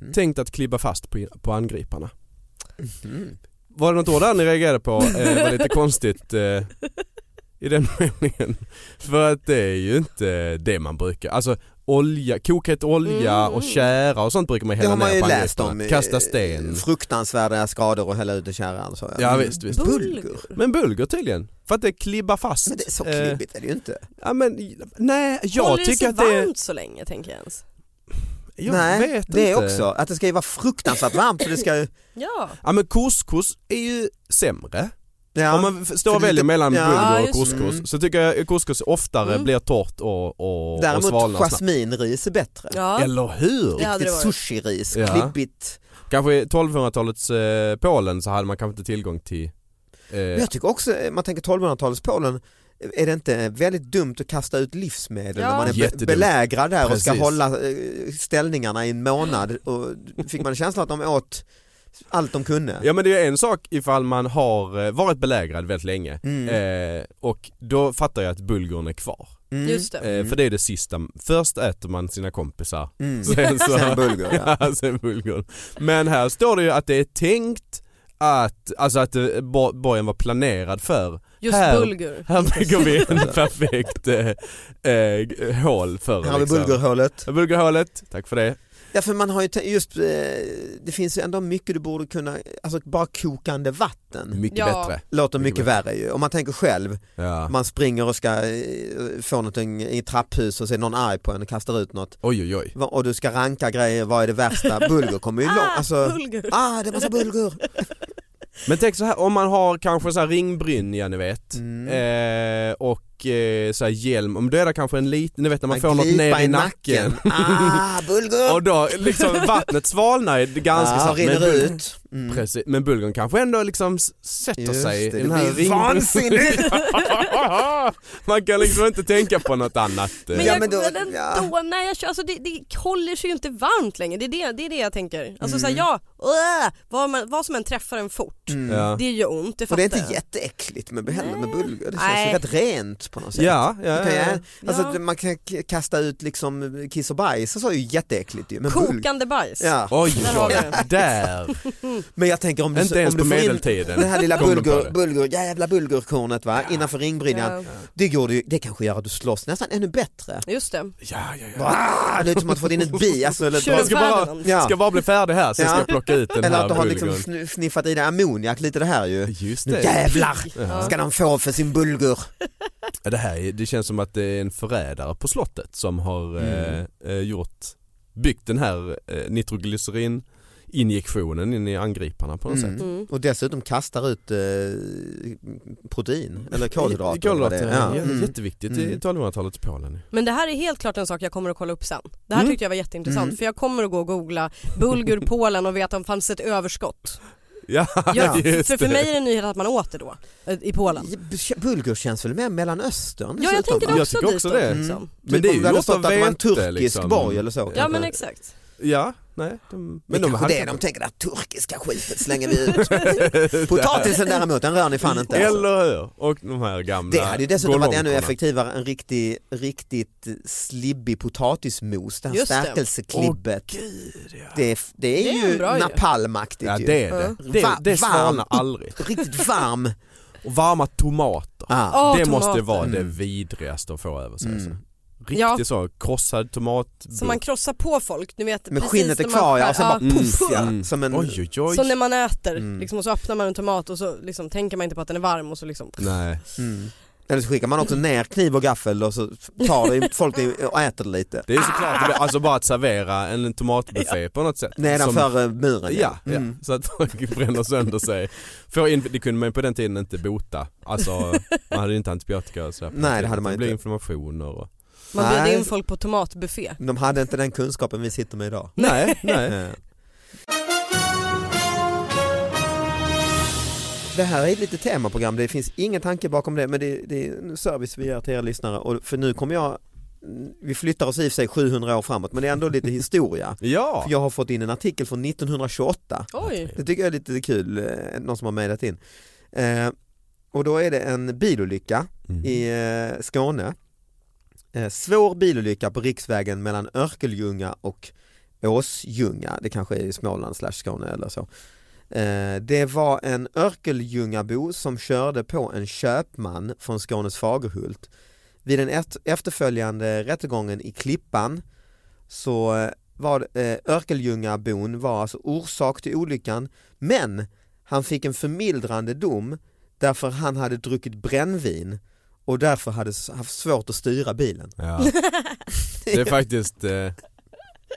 [SPEAKER 5] Mm. Tänkt att klibba fast på, på angriparna.
[SPEAKER 3] Mhm.
[SPEAKER 5] Var det något ord där ni reagerade på? Eh, det var lite konstigt eh, i den meningen. För att det är ju inte det man brukar, alltså olja, kokhet olja och tjära och sånt brukar man
[SPEAKER 3] Mm. Det
[SPEAKER 5] hälla
[SPEAKER 3] har man
[SPEAKER 5] ner
[SPEAKER 3] ju
[SPEAKER 5] på
[SPEAKER 3] läst
[SPEAKER 5] angriparna.
[SPEAKER 3] om. eh,
[SPEAKER 5] Kasta sten.
[SPEAKER 3] Fruktansvärda skador och hälla ut i kärran så.
[SPEAKER 5] Ja, visst, visst.
[SPEAKER 3] Bulgur.
[SPEAKER 5] Men bulgur tydligen, för att det klibbar fast.
[SPEAKER 3] Men det är så
[SPEAKER 5] Eh,
[SPEAKER 3] klibbigt är det ju inte.
[SPEAKER 5] ja, men, nej, jag
[SPEAKER 4] Håller det
[SPEAKER 5] tycker
[SPEAKER 4] sig
[SPEAKER 5] att det är...
[SPEAKER 4] varmt så länge tänker jag ens?
[SPEAKER 5] Jag
[SPEAKER 3] Nej,
[SPEAKER 5] vet
[SPEAKER 3] det
[SPEAKER 5] inte.
[SPEAKER 3] är också. Att det ska ju vara fruktansvärt varmt så det ska ju...
[SPEAKER 4] Ja.
[SPEAKER 5] Ja men couscous är ju sämre.
[SPEAKER 3] Ja.
[SPEAKER 5] Om man f- står
[SPEAKER 3] För
[SPEAKER 5] och
[SPEAKER 3] det är
[SPEAKER 5] väljer
[SPEAKER 3] lite-
[SPEAKER 5] mellan
[SPEAKER 3] ja,
[SPEAKER 5] bulgur och
[SPEAKER 4] just det.
[SPEAKER 5] couscous
[SPEAKER 3] Mm.
[SPEAKER 5] så tycker jag couscous oftare
[SPEAKER 4] Mm.
[SPEAKER 5] blir torrt och, och, och
[SPEAKER 3] Däremot
[SPEAKER 5] svalnar snabbt.
[SPEAKER 3] jasminris är bättre.
[SPEAKER 4] ja.
[SPEAKER 5] Eller hur?
[SPEAKER 4] Ja. hade
[SPEAKER 3] Riktigt
[SPEAKER 4] det varit.
[SPEAKER 3] sushiris,
[SPEAKER 5] Ja.
[SPEAKER 3] klibbigt.
[SPEAKER 5] Kanske i 1200-talets eh, Polen så hade man kanske inte tillgång till eh,
[SPEAKER 3] Men Jag tycker också, eh, man tänker 1200-talets Polen, är det inte väldigt dumt att kasta ut livsmedel
[SPEAKER 4] Ja.
[SPEAKER 3] när man är be-
[SPEAKER 5] Jättedumt.
[SPEAKER 3] belägrad där och
[SPEAKER 5] Precis.
[SPEAKER 3] ska hålla eh, ställningarna i en månad? Och fick man känslan att de åt allt de kunde?
[SPEAKER 5] Ja men det är en sak ifall man har eh, varit belägrad väldigt länge
[SPEAKER 3] Mm.
[SPEAKER 5] eh, och då fattar jag att bulgurn är kvar.
[SPEAKER 4] just det.
[SPEAKER 5] Eh, för det är det sista, först äter man sina kompisar,
[SPEAKER 3] Mm.
[SPEAKER 5] sen så
[SPEAKER 3] Sen bulgur, ja.
[SPEAKER 5] Ja, sen bulgur. Men här står det ju att det är tänkt att, alltså att eh, bo- borgen var planerad för
[SPEAKER 4] Just
[SPEAKER 5] här,
[SPEAKER 4] bulgur.
[SPEAKER 5] Här bygger vi en perfekt eh, eh, hål för liksom.
[SPEAKER 3] Här har vi bulgurhålet.
[SPEAKER 5] Bulgurhålet, tack för det.
[SPEAKER 3] Ja för man har ju te- just, eh, det finns ju ändå mycket du borde kunna, alltså bara kokande vatten
[SPEAKER 5] Mycket
[SPEAKER 4] Ja.
[SPEAKER 5] bättre.
[SPEAKER 3] låter mycket,
[SPEAKER 5] Mm. Mycket
[SPEAKER 3] värre ju. Om man tänker själv,
[SPEAKER 5] Ja.
[SPEAKER 3] man springer och ska eh, få någonting i trapphus och så är någon arg på en och kastar ut något.
[SPEAKER 5] Oj oj oj.
[SPEAKER 3] Va- Och du ska ranka grejer, vad är det värsta? Bulgur kommer ju långt, alltså,
[SPEAKER 4] Bulgur.
[SPEAKER 3] ah det är massa bulgur.
[SPEAKER 5] Men tänk så här, om man har kanske så här ringbrynja ni vet
[SPEAKER 3] Mm.
[SPEAKER 5] eh, och eh, så här hjälm, om det är det kanske en liten, ni vet när man, får något
[SPEAKER 3] glipar
[SPEAKER 5] ner i nacken.
[SPEAKER 3] Ah, bulgur!
[SPEAKER 5] Och då liksom vattnet svalnar ju ganska
[SPEAKER 3] ah,
[SPEAKER 5] snabbt. men
[SPEAKER 3] rinner
[SPEAKER 5] bul-
[SPEAKER 3] ut. Mm.
[SPEAKER 5] Precis, men bulgurn kanske ändå liksom s- sätter
[SPEAKER 3] Just
[SPEAKER 5] sig
[SPEAKER 3] det,
[SPEAKER 5] i
[SPEAKER 3] det
[SPEAKER 5] den här
[SPEAKER 3] blir vansinnigt.
[SPEAKER 5] Man kan liksom inte tänka på något annat. eh.
[SPEAKER 4] Men,
[SPEAKER 3] Ja,
[SPEAKER 4] jag,
[SPEAKER 3] men
[SPEAKER 4] men,
[SPEAKER 3] då-
[SPEAKER 4] ändå,
[SPEAKER 3] ja.
[SPEAKER 4] nej, jag, kör- alltså, det, det håller sig ju inte varmt längre, det är det, det, är det jag tänker. Alltså såhär,
[SPEAKER 3] Mm.
[SPEAKER 4] ja, äh, vad, man, vad som än träffar en fort,
[SPEAKER 5] Ja.
[SPEAKER 4] det gör ont, det
[SPEAKER 3] Och det
[SPEAKER 4] fattar
[SPEAKER 3] är inte
[SPEAKER 4] jag.
[SPEAKER 3] jätteäckligt med, heller med bulgur, det känns ju
[SPEAKER 4] Nej.
[SPEAKER 3] rätt rent på något sätt.
[SPEAKER 5] Ja, ja,
[SPEAKER 3] Det kan
[SPEAKER 5] ja,
[SPEAKER 3] jag,
[SPEAKER 5] ja.
[SPEAKER 3] alltså,
[SPEAKER 4] Ja.
[SPEAKER 3] det- Man kan k- kasta ut liksom kiss och bajs och så är ju jätteäckligt ju. Men, bulg-
[SPEAKER 4] Kokande bajs.
[SPEAKER 3] ja.
[SPEAKER 5] Oj,
[SPEAKER 4] Där har vi
[SPEAKER 5] oj,
[SPEAKER 4] det.
[SPEAKER 5] där.
[SPEAKER 3] men jag tänker om du,
[SPEAKER 5] Inte ens
[SPEAKER 3] om du
[SPEAKER 5] på
[SPEAKER 3] får in
[SPEAKER 5] medeltiden.
[SPEAKER 3] Det här lilla
[SPEAKER 5] kom de på
[SPEAKER 3] bulgur,
[SPEAKER 5] det.
[SPEAKER 3] bulgur, jävla bulgurkornet va, innanför ringbrynjan.
[SPEAKER 4] Ja.
[SPEAKER 3] Det, går du, det kanske gör att du slåss nästan ännu bättre.
[SPEAKER 4] Just det.
[SPEAKER 5] Ja, ja, ja.
[SPEAKER 3] Ah, det är som att få in ett bi. Alltså, eller,
[SPEAKER 4] Kör
[SPEAKER 5] Man ska bara,
[SPEAKER 4] Ferdinand.
[SPEAKER 3] Ja.
[SPEAKER 5] ska bara bli färdig här, sen ska
[SPEAKER 3] Ja.
[SPEAKER 5] jag plocka ut den
[SPEAKER 3] eller
[SPEAKER 5] här
[SPEAKER 3] att du har
[SPEAKER 5] bulgurn.
[SPEAKER 3] liksom snu- sniffat i dig ammoniak, lite det här ju.
[SPEAKER 5] Just
[SPEAKER 3] Nu
[SPEAKER 5] det.
[SPEAKER 3] jävlar ska de få för sin bulgur.
[SPEAKER 5] Ja, Det, här, är- det känns som att det är en förrädare på slottet som har
[SPEAKER 3] Mm.
[SPEAKER 5] eh, eh, gjort, byggt den här eh, nitroglycerin injektionen in i angriparna på något
[SPEAKER 3] Mm.
[SPEAKER 5] sätt.
[SPEAKER 4] Mm.
[SPEAKER 3] Och dessutom kastar ut eh, protein, eller kolhydrater. eller vad det
[SPEAKER 5] Kolhydrater,
[SPEAKER 3] är.
[SPEAKER 5] ja.
[SPEAKER 3] Ja. Mm.
[SPEAKER 5] Jätteviktigt i
[SPEAKER 3] Mm.
[SPEAKER 5] 1200-talets Polen.
[SPEAKER 4] Men det här är helt klart en sak jag kommer att kolla upp sen. Det här
[SPEAKER 5] Mm.
[SPEAKER 4] tyckte jag var jätteintressant
[SPEAKER 3] Mm.
[SPEAKER 4] för jag kommer att gå och googla Bulgur Polen och veta om det fanns ett överskott.
[SPEAKER 5] Ja,
[SPEAKER 4] Ja,
[SPEAKER 5] just
[SPEAKER 4] för, för mig
[SPEAKER 5] det.
[SPEAKER 4] är det en nyhet att man åt det då, eh, i Polen.
[SPEAKER 3] Mm. Bulgur känns väl mer Mellanöstern?
[SPEAKER 4] Ja jag tänker
[SPEAKER 5] va?
[SPEAKER 4] det
[SPEAKER 5] Jag
[SPEAKER 4] också
[SPEAKER 5] tycker också
[SPEAKER 4] dit då,
[SPEAKER 5] det.
[SPEAKER 4] liksom.
[SPEAKER 5] Men det är
[SPEAKER 3] om
[SPEAKER 5] ju
[SPEAKER 3] det hade
[SPEAKER 5] gjort
[SPEAKER 3] stått
[SPEAKER 5] av
[SPEAKER 3] att det var en
[SPEAKER 5] vete,
[SPEAKER 3] turkisk
[SPEAKER 5] liksom.
[SPEAKER 3] borg eller så.
[SPEAKER 4] Ja men exakt.
[SPEAKER 5] Ja, nej. De,
[SPEAKER 3] Men det kanske
[SPEAKER 5] hade
[SPEAKER 3] det de
[SPEAKER 5] kanske-
[SPEAKER 3] tänker, det här turkiska skiten slänger vi ut. Potatisen däremot, den rör ni fan inte. alltså.
[SPEAKER 5] Eller hur? Och de här gamla
[SPEAKER 3] Det hade ju dessutom varit ännu
[SPEAKER 5] golonkorna.
[SPEAKER 3] effektivare än riktig, riktigt slibbig potatismos, det här
[SPEAKER 4] Just det.
[SPEAKER 3] stärkelseklibbet. det, är, f- det är
[SPEAKER 4] Det är en
[SPEAKER 3] ju
[SPEAKER 4] bra idé.
[SPEAKER 3] napalmaktigt
[SPEAKER 5] Ja
[SPEAKER 3] ju.
[SPEAKER 5] det är det.
[SPEAKER 4] Mm.
[SPEAKER 5] Det,
[SPEAKER 3] Va-
[SPEAKER 5] det
[SPEAKER 3] varm.
[SPEAKER 5] svalnar aldrig.
[SPEAKER 3] Riktigt varm.
[SPEAKER 5] Och varma tomater.
[SPEAKER 3] Ah.
[SPEAKER 4] Åh,
[SPEAKER 5] det måste
[SPEAKER 4] tomater.
[SPEAKER 5] vara det
[SPEAKER 3] Mm.
[SPEAKER 5] vidrigaste att få över sig.
[SPEAKER 3] Mm.
[SPEAKER 5] Alltså. Riktigt
[SPEAKER 4] Ja.
[SPEAKER 5] så, krossad tomat.
[SPEAKER 4] Så man krossar på folk, ni vet
[SPEAKER 3] Men
[SPEAKER 4] precis
[SPEAKER 3] skinnet är
[SPEAKER 4] när man
[SPEAKER 3] kvar
[SPEAKER 4] skär-
[SPEAKER 3] ja, och sen bara puff ja.
[SPEAKER 5] Mm.
[SPEAKER 3] Som en,
[SPEAKER 5] Oj oj oj.
[SPEAKER 4] Som när man äter,
[SPEAKER 3] Mm.
[SPEAKER 4] liksom, och så öppnar man en tomat och så liksom, tänker man inte på att den är varm och så liksom
[SPEAKER 5] Nej.
[SPEAKER 3] Mm. Eller så skickar man också ner kniv och gaffel och så tar det, folk det och äter det lite.
[SPEAKER 5] Det är ju såklart, det
[SPEAKER 4] Ah!
[SPEAKER 5] blir- alltså bara att servera en tomatbuffé på något sätt.
[SPEAKER 3] Nedanför eh, muren
[SPEAKER 5] Ja, ja.
[SPEAKER 3] Mm.
[SPEAKER 5] så att folk bränner sönder sig. Får in, det kunde man ju på den tiden inte bota. Alltså man hade ju inte antibiotika och sådär. på
[SPEAKER 3] Nej,
[SPEAKER 5] den
[SPEAKER 3] det
[SPEAKER 5] tiden.
[SPEAKER 3] hade man ju
[SPEAKER 5] Det blev
[SPEAKER 3] inte.
[SPEAKER 5] inflammationer och...
[SPEAKER 4] Man
[SPEAKER 3] Nej.
[SPEAKER 4] bjuder in folk på tomatbuffé.
[SPEAKER 3] De hade inte den kunskapen vi sitter med idag.
[SPEAKER 5] Nej, nej.
[SPEAKER 3] Eh. Det här är ett litet temaprogram, det finns ingen tanke bakom det men det, det är en service vi ger till er lyssnare och för nu kommer jag, vi flyttar oss i och för sig 700 år framåt men det är ändå lite historia.
[SPEAKER 5] Ja!
[SPEAKER 3] För jag har fått in en artikel från 1928
[SPEAKER 4] Oj!
[SPEAKER 3] det tycker jag är lite kul, eh, någon som har mejlat in. Eh, och då är det en bilolycka
[SPEAKER 5] Mm.
[SPEAKER 3] i eh, Skåne. Eh, svår bilolycka på riksvägen mellan Örkelljunga och Åsljunga. Det kanske är i Småland slash Skåne eller så. Eh, det var en Örkelljungabo som körde på en köpman från Skånes Fagerhult. Vid den eft- efterföljande rättegången i Klippan så eh, var eh, Örkelljungabon var alltså orsak till olyckan men han fick en förmildrande dom därför han hade druckit brännvin och därför hade s- haft svårt att styra bilen.
[SPEAKER 5] Ja. Det är faktiskt eh,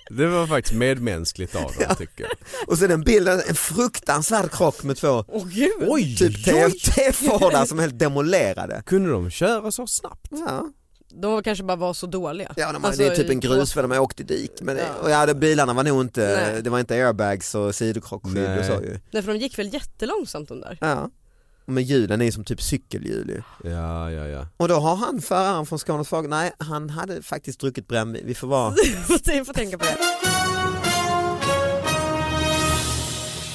[SPEAKER 5] det var faktiskt medmänskligt av dem tycker jag.
[SPEAKER 3] Och så den bilden, en fruktansvärd krock med två
[SPEAKER 4] Åh gud!
[SPEAKER 5] Oj,
[SPEAKER 3] typ
[SPEAKER 5] oj, oj.
[SPEAKER 3] T-Fordar som helt demolerade.
[SPEAKER 5] Kunde de köra så snabbt?
[SPEAKER 3] Ja,
[SPEAKER 4] De kanske bara var så dåliga.
[SPEAKER 3] ja de, hade-
[SPEAKER 4] Alltså,
[SPEAKER 3] det är typ
[SPEAKER 4] i-
[SPEAKER 3] en grusväg, de har åkt i dik. Men det,
[SPEAKER 4] Ja.
[SPEAKER 3] och ja, det, bilarna var nog inte,
[SPEAKER 4] Nej.
[SPEAKER 3] det var inte airbags och sidokrockskydd och så
[SPEAKER 5] Nej.
[SPEAKER 3] ju.
[SPEAKER 4] Nej för de gick väl jättelångsamt de där?
[SPEAKER 3] Ja. Men hjulen är ju som typ cykelhjul ju.
[SPEAKER 5] Ja, ja, ja.
[SPEAKER 3] Och då har han föraren från Skånes Fag, nej han hade faktiskt druckit brännvin, vi får vara...
[SPEAKER 4] Jag får tänka på det.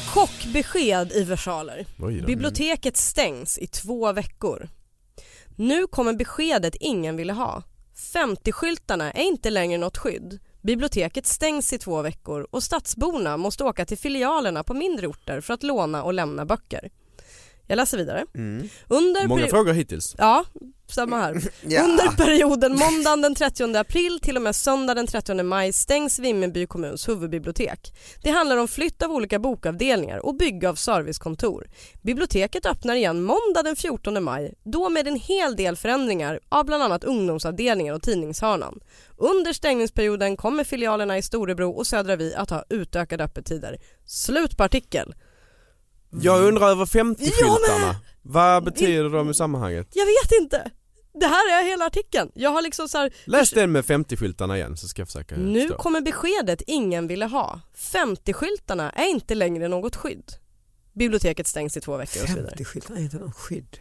[SPEAKER 4] Chockbesked i versaler.
[SPEAKER 5] Oj då.
[SPEAKER 4] Biblioteket stängs i två veckor. Nu kommer beskedet ingen ville ha. 50-skyltarna är inte längre något skydd. Biblioteket stängs i två veckor och stadsborna måste åka till filialerna på mindre orter för att låna och lämna böcker. Jag läser vidare.
[SPEAKER 3] Mm.
[SPEAKER 4] Under
[SPEAKER 5] Många
[SPEAKER 4] peri-
[SPEAKER 5] frågor hittills.
[SPEAKER 4] Ja, samma här.
[SPEAKER 3] Ja.
[SPEAKER 4] Under perioden måndagen den 30 april till och med söndag den 30 maj stängs Vimmerby kommuns huvudbibliotek. Det handlar om flytt av olika bokavdelningar och bygge av servicekontor. Biblioteket öppnar igen måndag den 14 maj, då med en hel del förändringar av bland annat ungdomsavdelningen och tidningshörnan. Under stängningsperioden kommer filialerna i Storebro och Södra Vi att ha utökade öppettider. Slut på artikel.
[SPEAKER 5] Jag undrar över 50-skyltarna.
[SPEAKER 4] med!
[SPEAKER 5] Vad betyder de i sammanhanget?
[SPEAKER 4] Jag vet inte! Det här är hela artikeln. Jag har liksom så här,
[SPEAKER 5] Läs den med 50-skyltarna igen så ska jag försöka
[SPEAKER 4] Nu
[SPEAKER 5] förstå.
[SPEAKER 4] kommer beskedet ingen ville ha. 50-skyltarna är inte längre något skydd. Biblioteket stängs i två veckor och så vidare.
[SPEAKER 3] 50 skyltar är inte någon skydd.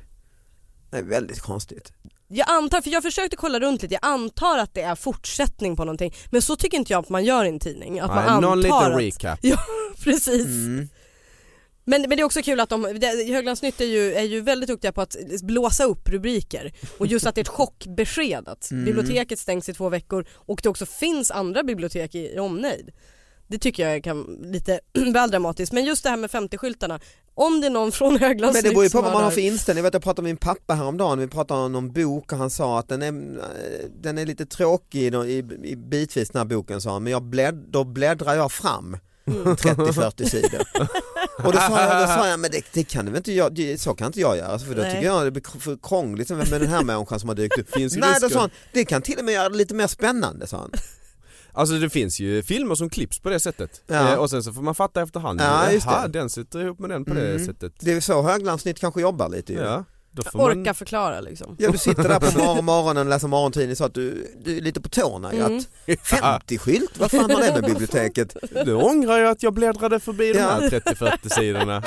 [SPEAKER 3] Det är väldigt konstigt.
[SPEAKER 4] Jag antar, för jag försökte kolla runt lite, jag antar att det är fortsättning på någonting. Men så tycker inte jag att man gör i en tidning. Att man
[SPEAKER 5] Nej,
[SPEAKER 4] antar
[SPEAKER 5] någon liten
[SPEAKER 4] att,
[SPEAKER 5] recap.
[SPEAKER 4] Precis.
[SPEAKER 3] Mm.
[SPEAKER 4] Men, men det är också kul att de, det- Höglands Nytt är ju, är ju väldigt duktiga på att blåsa upp rubriker och just att det är ett chockbesked att
[SPEAKER 3] Mm.
[SPEAKER 4] biblioteket stängs i två veckor och det också finns andra bibliotek i, i omnejd. Det tycker jag kan lite väl dramatiskt men just det här med 50-skyltarna, om det är någon från Höglands
[SPEAKER 3] Men det beror ju
[SPEAKER 4] Nytt
[SPEAKER 3] på
[SPEAKER 4] som
[SPEAKER 3] vad man har
[SPEAKER 4] det
[SPEAKER 3] för inställning. Jag, vet, jag pratade med min pappa häromdagen, vi pratade om någon bok och han sa att den är, eh, den är lite tråkig i, i, i bitvis den här boken sa han, men jag blädd, då bläddrar jag fram 30-40 sidor. och då sa jag, då sa jag men det, det kan du väl inte jag, det, så kan inte jag göra, för då
[SPEAKER 4] Nej.
[SPEAKER 3] tycker jag det blir k- för krångligt med den här människan som har dykt upp.
[SPEAKER 5] Finns ju
[SPEAKER 3] Nej, då
[SPEAKER 5] risker.
[SPEAKER 3] sa han, det kan till och med göra det lite mer spännande sa han.
[SPEAKER 5] Alltså det finns ju filmer som klipps på det sättet.
[SPEAKER 3] Ja.
[SPEAKER 5] Eh, Och sen så får man fatta efterhand.
[SPEAKER 3] Ja, just det.
[SPEAKER 5] Jaha, den sitter ihop med den på det
[SPEAKER 3] Mm.
[SPEAKER 5] sättet.
[SPEAKER 3] Det är så höglandsnytt kanske jobbar lite ju.
[SPEAKER 5] Ja, då får
[SPEAKER 4] Orka
[SPEAKER 5] man...
[SPEAKER 4] förklara liksom.
[SPEAKER 3] Ja, du sitter där på mor- morgonen och läser morgontidning så att du, du är lite på tårna. ju
[SPEAKER 4] Mm.
[SPEAKER 3] Att 50-skylt, vad fan har det med biblioteket?
[SPEAKER 5] Nu ångrar jag att jag bläddrade förbi de
[SPEAKER 3] Ja.
[SPEAKER 5] här 30-40 sidorna.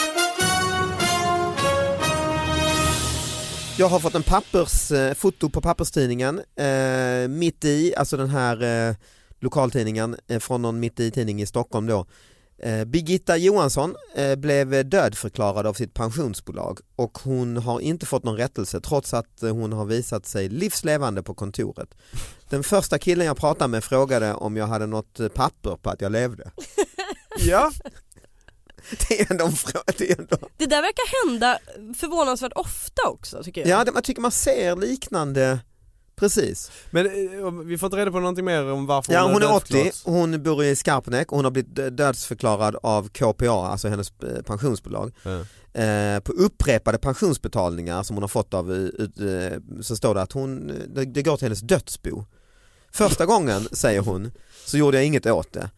[SPEAKER 3] Jag har fått en pappers, eh, foto på papperstidningen eh, mitt i, alltså den här eh, lokaltidningen eh, från någon mitt i tidning i Stockholm då. Eh, Birgitta Johansson eh, blev dödförklarad av sitt pensionsbolag och hon har inte fått någon rättelse trots att eh, hon har visat sig livslevande på kontoret. Den första killen jag pratade med frågade om jag hade något eh, papper på att jag levde.
[SPEAKER 5] Ja,
[SPEAKER 3] Det är ändå en frå- det är ändå
[SPEAKER 4] Det där verkar hända förvånansvärt ofta också tycker jag.
[SPEAKER 3] Ja, det, man tycker man ser liknande, precis.
[SPEAKER 5] men eh, om- vi får inte reda på någonting mer om varför
[SPEAKER 3] Ja, hon
[SPEAKER 5] har
[SPEAKER 3] är 80,
[SPEAKER 5] dödförklarats.
[SPEAKER 3] hon bor i Skarpnäck och hon har blivit dö- dödsförklarad av KPA, alltså hennes eh, pensionsbolag,
[SPEAKER 5] Ja.
[SPEAKER 3] eh, på upprepade pensionsbetalningar som hon har fått av, eh, ut, eh, så står det att hon, eh, det, det går till hennes dödsbo. Första gången, säger hon, så gjorde jag inget åt det.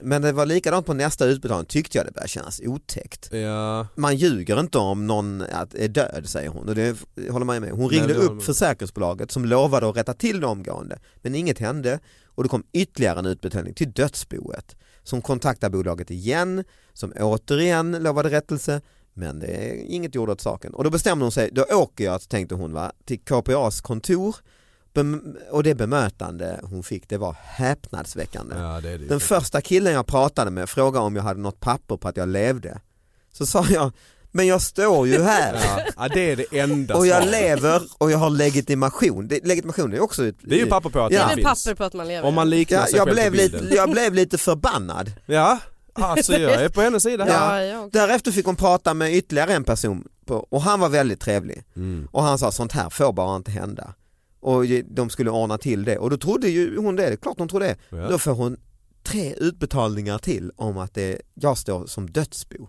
[SPEAKER 3] Men det var likadant på nästa utbetalning, tyckte jag det började kännas otäckt.
[SPEAKER 5] Ja,
[SPEAKER 3] Man ljuger inte om någon att är död säger hon och det håller man ju med. Hon
[SPEAKER 5] Nej,
[SPEAKER 3] ringde
[SPEAKER 5] det håller man
[SPEAKER 3] upp
[SPEAKER 5] med.
[SPEAKER 3] försäkringsbolaget som lovade att rätta till det omgående men inget hände och det kom ytterligare en utbetalning till dödsboet som kontaktade bolaget igen som återigen lovade rättelse men det är inget gjort åt saken och då bestämde hon sig, då åker jag tänkte hon va, till KPAs kontor Bem- och det bemötande hon fick det var häpnadsväckande.
[SPEAKER 5] ja det är det ju.
[SPEAKER 3] Den första killen jag pratade med frågade om jag hade något papper på att jag levde. Så sa jag, men jag står ju här
[SPEAKER 5] Ja. ja, det är det enda
[SPEAKER 3] och jag
[SPEAKER 5] svaret.
[SPEAKER 3] lever och jag har legitimation. Det, legitimation är också ett...
[SPEAKER 5] Det är ju papper på att
[SPEAKER 3] Ja.
[SPEAKER 4] det
[SPEAKER 5] den
[SPEAKER 4] är väl
[SPEAKER 5] finns.
[SPEAKER 4] papper på att man lever.
[SPEAKER 5] Om man liknar
[SPEAKER 3] Ja,
[SPEAKER 5] sig
[SPEAKER 3] jag,
[SPEAKER 5] själv
[SPEAKER 3] blev
[SPEAKER 5] på bilden.
[SPEAKER 3] lite, jag blev lite förbannad.
[SPEAKER 5] Ja, alltså jag är på hennes sida här.
[SPEAKER 3] Ja.
[SPEAKER 4] ja, jag också.
[SPEAKER 3] Därefter fick hon prata med ytterligare en person på, och han var väldigt trevlig.
[SPEAKER 5] Mm.
[SPEAKER 3] Och han sa sånt här får bara inte hända. Och ju- de skulle ordna till det och då trodde ju hon det, det är klart hon trodde det.
[SPEAKER 5] Ja.
[SPEAKER 3] Då får hon tre utbetalningar till om att det, jag står som dödsbo.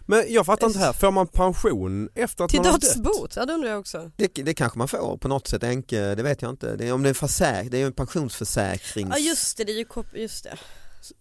[SPEAKER 5] Men jag fattar inte här, får man pension efter att
[SPEAKER 4] Till
[SPEAKER 5] man har dött?
[SPEAKER 4] dödsbot, ja det undrar jag också.
[SPEAKER 3] Det, det kanske man får på något sätt, enke, det vet jag inte. Det är, om det är en försäkring, det är ju en pensionsförsäkrings...
[SPEAKER 4] Ja just det, det är ju kop- just det.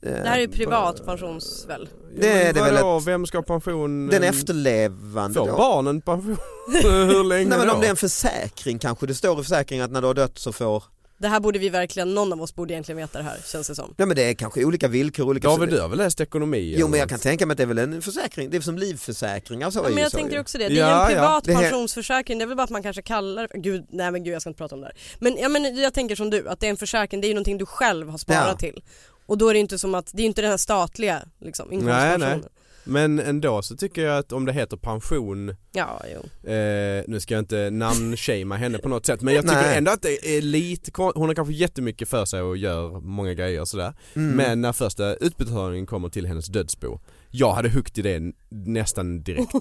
[SPEAKER 3] eh,
[SPEAKER 4] Det här är ju privat pensions väl?
[SPEAKER 5] Det är det
[SPEAKER 3] väl
[SPEAKER 5] vadå, vem ska ha pension?
[SPEAKER 3] Den efterlevande
[SPEAKER 5] Mm. Får
[SPEAKER 3] då.
[SPEAKER 5] barnen pension? Hur länge
[SPEAKER 3] Nej men
[SPEAKER 5] då?
[SPEAKER 3] om det är en försäkring kanske, det står i försäkringen att när du har dött så får...
[SPEAKER 4] Det här borde vi verkligen, någon av oss borde egentligen veta det här känns det som.
[SPEAKER 3] Nej men det är kanske olika villkor, olika...
[SPEAKER 5] David, du har väl läst ekonomi?
[SPEAKER 3] Jo men
[SPEAKER 5] eller
[SPEAKER 3] jag kan tänka mig att det är väl en försäkring, det är som livförsäkringar så
[SPEAKER 4] Ja,
[SPEAKER 3] är
[SPEAKER 4] men
[SPEAKER 3] ju
[SPEAKER 4] jag
[SPEAKER 3] så
[SPEAKER 4] tänker
[SPEAKER 3] ju.
[SPEAKER 4] också det, det är
[SPEAKER 5] Ja,
[SPEAKER 4] ju
[SPEAKER 5] ja.
[SPEAKER 4] en privat
[SPEAKER 3] Det här-
[SPEAKER 4] pensionsförsäkring, det är väl bara att man kanske kallar Gud, nej men gud jag ska inte prata om det här. Men, ja, men jag tänker som du, att det är en försäkring, det är ju någonting du själv har sparat
[SPEAKER 3] Ja.
[SPEAKER 4] till. Och då är det ju inte som att, det är ju inte den här statliga liksom,
[SPEAKER 5] Nej,
[SPEAKER 4] inkomstpensionen.
[SPEAKER 5] nej. Men ändå så tycker jag att om det heter pension,
[SPEAKER 4] Ja, jo.
[SPEAKER 5] eh, nu ska jag inte namnshamea henne på något sätt men jag tycker
[SPEAKER 3] Nej.
[SPEAKER 5] ändå att det är lite kon- hon har kanske jättemycket för sig och gör många grejer och sådär.
[SPEAKER 3] Mm.
[SPEAKER 5] Men när första utbetalningen kommer till hennes dödsbo, jag hade huggit i det n- nästan direkt.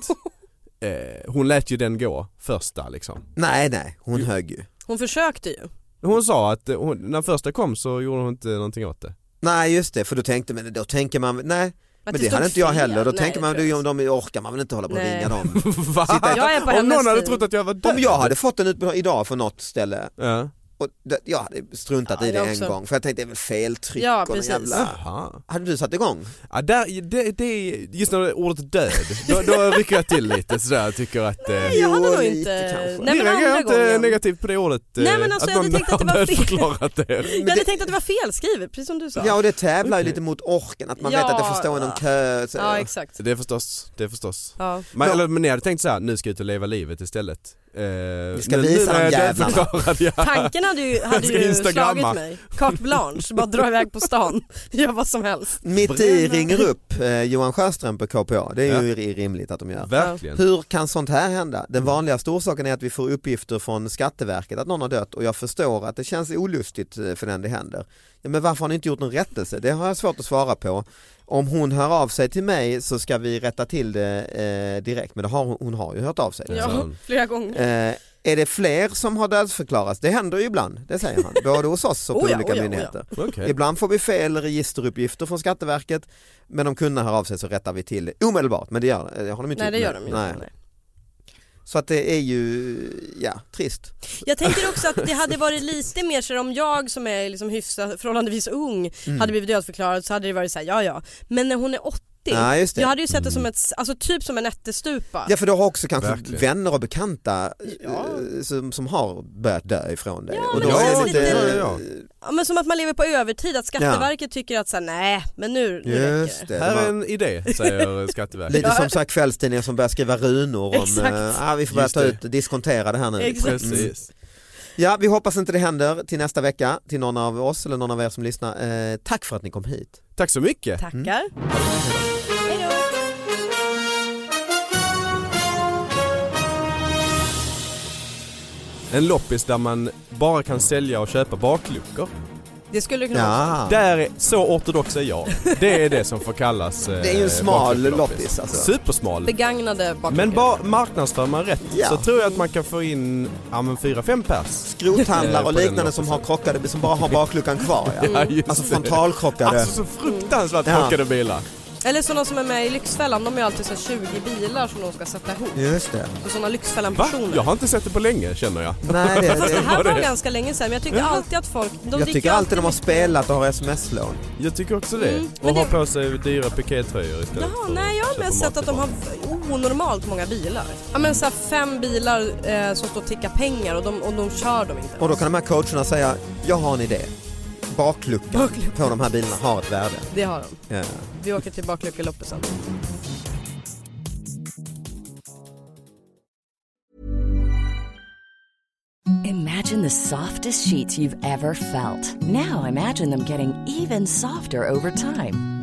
[SPEAKER 5] eh, hon lät ju den gå första liksom.
[SPEAKER 3] Nej nej, hon högg ju.
[SPEAKER 4] Hon försökte ju.
[SPEAKER 5] Hon sa att eh, hon, när första kom så gjorde hon inte någonting åt det.
[SPEAKER 3] Nej just det, för då tänkte man, då tänker man, nej men det
[SPEAKER 4] stod
[SPEAKER 3] hade inte jag
[SPEAKER 4] fel.
[SPEAKER 3] heller, då
[SPEAKER 4] Nej,
[SPEAKER 3] tänker man,
[SPEAKER 4] det tror
[SPEAKER 3] du,
[SPEAKER 4] jag
[SPEAKER 3] om de orkar man väl inte hålla på och
[SPEAKER 4] Nej.
[SPEAKER 3] ringa dem.
[SPEAKER 5] Va?
[SPEAKER 3] Sitta-
[SPEAKER 4] Jag är på
[SPEAKER 5] Om någon
[SPEAKER 4] hennes
[SPEAKER 5] hade
[SPEAKER 4] sida.
[SPEAKER 5] trott att jag var död.
[SPEAKER 3] Om jag hade fått en utbetalning idag från något ställe,
[SPEAKER 5] Ja.
[SPEAKER 3] och det, jag hade struntat
[SPEAKER 4] Ja,
[SPEAKER 3] i det
[SPEAKER 4] jag
[SPEAKER 3] en
[SPEAKER 4] också.
[SPEAKER 3] gång för jag tänkte det är väl fel tryck
[SPEAKER 4] Ja,
[SPEAKER 3] och någon
[SPEAKER 4] precis.
[SPEAKER 3] jävla...
[SPEAKER 5] Jaha.
[SPEAKER 3] Hade du satt igång?
[SPEAKER 5] Ja, där, det, det, just när det är ordet död, då, då rycker jag till lite sådär jag tycker att... eh,
[SPEAKER 4] Nej, jag hade
[SPEAKER 3] Jo,
[SPEAKER 4] nog
[SPEAKER 3] lite
[SPEAKER 4] inte...
[SPEAKER 3] kanske.
[SPEAKER 4] Nej
[SPEAKER 5] Ni
[SPEAKER 4] men
[SPEAKER 5] reagerar
[SPEAKER 4] andra
[SPEAKER 5] inte
[SPEAKER 4] gången.
[SPEAKER 5] negativt på det ordet?
[SPEAKER 4] Nej,
[SPEAKER 5] eh,
[SPEAKER 4] men alltså,
[SPEAKER 5] att
[SPEAKER 4] jag hade
[SPEAKER 5] någon
[SPEAKER 4] tänkt att det var fel.
[SPEAKER 5] förklarat det.
[SPEAKER 4] Jag hade tänkt att det var felskrivet, precis som du sa.
[SPEAKER 3] Ja och det tävlar ju
[SPEAKER 5] Okej.
[SPEAKER 3] lite mot orken, att man
[SPEAKER 4] Ja.
[SPEAKER 3] vet att det får stå i någon kö. Så,
[SPEAKER 4] Ja, exakt.
[SPEAKER 5] Det är förstås, det är förstås.
[SPEAKER 4] Ja.
[SPEAKER 5] Men, eller, men ni hade tänkt så här, nu ska jag ut och leva livet istället. Eh, vi
[SPEAKER 3] ska visa de jävlarna.
[SPEAKER 4] Tanken hade ju, hade
[SPEAKER 5] ska
[SPEAKER 4] ju
[SPEAKER 5] instagramma.
[SPEAKER 4] slagit mig. Carte blanche, bara dra iväg på stan. Gör vad som helst.
[SPEAKER 3] Mitt i ringer upp eh, Johan Sjöström på KPA, det är
[SPEAKER 5] Ja.
[SPEAKER 3] ju ri- rimligt att de gör.
[SPEAKER 5] Verkligen.
[SPEAKER 3] Hur kan sånt här hända? Den vanligaste orsaken är att vi får uppgifter från Skatteverket att någon har dött och jag förstår att det känns olustigt eh, för den det händer. Ja, men varför har ni inte gjort någon rättelse? Det har jag svårt att svara på. Om hon hör av sig till mig så ska vi rätta till det eh, direkt men det har, hon- hon har ju hört av sig.
[SPEAKER 4] Ja, flera gånger.
[SPEAKER 3] Eh, är det fler som har dödsförklarats? Det händer ju ibland, det säger han. Både hos oss och på
[SPEAKER 4] Oh ja,
[SPEAKER 3] olika
[SPEAKER 4] oh ja, oh ja.
[SPEAKER 3] myndigheter.
[SPEAKER 5] Okej.
[SPEAKER 3] Ibland får vi fel registeruppgifter från Skatteverket men om kunderna hör av sig så rättar vi till det omedelbart men det, gör, det har de inte
[SPEAKER 4] Nej det
[SPEAKER 3] gjort
[SPEAKER 4] gör
[SPEAKER 3] nu.
[SPEAKER 4] de ju inte. nej.
[SPEAKER 3] Så att det är ju, ja, trist.
[SPEAKER 4] Jag tänker också att det hade varit lite mer så här, om jag som är liksom hyfsat, förhållandevis ung
[SPEAKER 3] Mm.
[SPEAKER 4] hade blivit dödförklarad så hade det varit så här, ja ja. Men när hon är 80,
[SPEAKER 3] Ja, just det. Mm.
[SPEAKER 4] jag hade ju sett det som ett, alltså typ som en ättestupa.
[SPEAKER 3] Ja för du har också kanske
[SPEAKER 5] Verkligen.
[SPEAKER 3] vänner och bekanta eh, som, som har börjat dö ifrån dig. och
[SPEAKER 4] men
[SPEAKER 3] är
[SPEAKER 4] också
[SPEAKER 3] det
[SPEAKER 4] lite-
[SPEAKER 3] lite-
[SPEAKER 5] Ja, ja,
[SPEAKER 4] Ja, men som att man lever på övertid, att Skatteverket tycker att så här, nej men nu, nu räcker
[SPEAKER 3] Just
[SPEAKER 4] det.
[SPEAKER 3] det.
[SPEAKER 5] Här
[SPEAKER 3] de har-
[SPEAKER 5] är en idé, säger Skatteverket.
[SPEAKER 3] Lite som så här kvällstidningar som börjar skriva runor om,
[SPEAKER 4] Exakt.
[SPEAKER 3] eh, ah, vi får börja
[SPEAKER 5] Just
[SPEAKER 3] ta
[SPEAKER 5] det.
[SPEAKER 3] ut, diskontera det här nu. Mm.
[SPEAKER 4] Exakt.
[SPEAKER 5] Precis.
[SPEAKER 3] Ja, vi hoppas inte det händer till nästa vecka till någon av oss eller någon av er som lyssnar. Eh, tack för att ni kom hit.
[SPEAKER 5] Tack så mycket.
[SPEAKER 4] Tackar.
[SPEAKER 3] Mm.
[SPEAKER 5] En loppis där man bara kan sälja och köpa bakluckor.
[SPEAKER 4] Det skulle kunna vara
[SPEAKER 3] Ja.
[SPEAKER 5] Där är, så ortodox är jag. Det är det som får kallas eh,
[SPEAKER 3] Det är ju en smal
[SPEAKER 5] bakluckeloppis.
[SPEAKER 3] loppis, alltså.
[SPEAKER 5] Supersmal.
[SPEAKER 4] begagnade bakluckor.
[SPEAKER 5] Men bara marknadsför man rätt
[SPEAKER 3] Ja.
[SPEAKER 5] så tror jag att man kan få in ja, men 4-5 pers.
[SPEAKER 3] Skrothandlare
[SPEAKER 5] Eh,
[SPEAKER 3] och
[SPEAKER 5] på den
[SPEAKER 3] liknande som har krockade, som bara har bakluckan kvar. Ja.
[SPEAKER 5] Ja, just
[SPEAKER 3] Alltså
[SPEAKER 5] det.
[SPEAKER 3] frontalkrockade.
[SPEAKER 5] Alltså så fruktansvärt
[SPEAKER 3] Ja.
[SPEAKER 5] krockade bilar.
[SPEAKER 4] Eller sådana som är med i Lyxfällan, de har ju alltid så här 20 bilar som de ska sätta ihop.
[SPEAKER 3] Just det.
[SPEAKER 4] Och sådana
[SPEAKER 5] Va?
[SPEAKER 4] Lyxfällan-personer.
[SPEAKER 5] Jag har inte sett det på länge känner jag.
[SPEAKER 3] Nej, det,
[SPEAKER 4] Fast det
[SPEAKER 3] det,
[SPEAKER 4] här var,
[SPEAKER 5] det?
[SPEAKER 4] ganska länge sedan men jag tyckte alltid att folk, de
[SPEAKER 3] jag
[SPEAKER 4] gick
[SPEAKER 3] tycker
[SPEAKER 4] ju
[SPEAKER 3] alltid de har spelat och har sms-lån.
[SPEAKER 5] Jag tycker också det.
[SPEAKER 4] Mm,
[SPEAKER 5] och
[SPEAKER 4] men
[SPEAKER 5] ha
[SPEAKER 4] det-
[SPEAKER 5] på sig dyra pikétröjor istället
[SPEAKER 4] Jaha,
[SPEAKER 5] för
[SPEAKER 4] nej jag
[SPEAKER 5] att
[SPEAKER 4] har mest
[SPEAKER 5] köpa
[SPEAKER 4] sett att de
[SPEAKER 5] mat
[SPEAKER 4] har onormalt många bilar. Ja men såhär fem bilar eh, som står och tickar pengar och de, och de kör dem inte.
[SPEAKER 3] Och då kan de här coacherna säga, jag har en idé. Bakluckan på de här bilarna har ett värde.
[SPEAKER 4] Det har de.
[SPEAKER 3] Ja.
[SPEAKER 4] Vi åker till bakluckeloppet sen.
[SPEAKER 1] Imagine the softest sheets you've ever felt. Now imagine them getting even softer over time.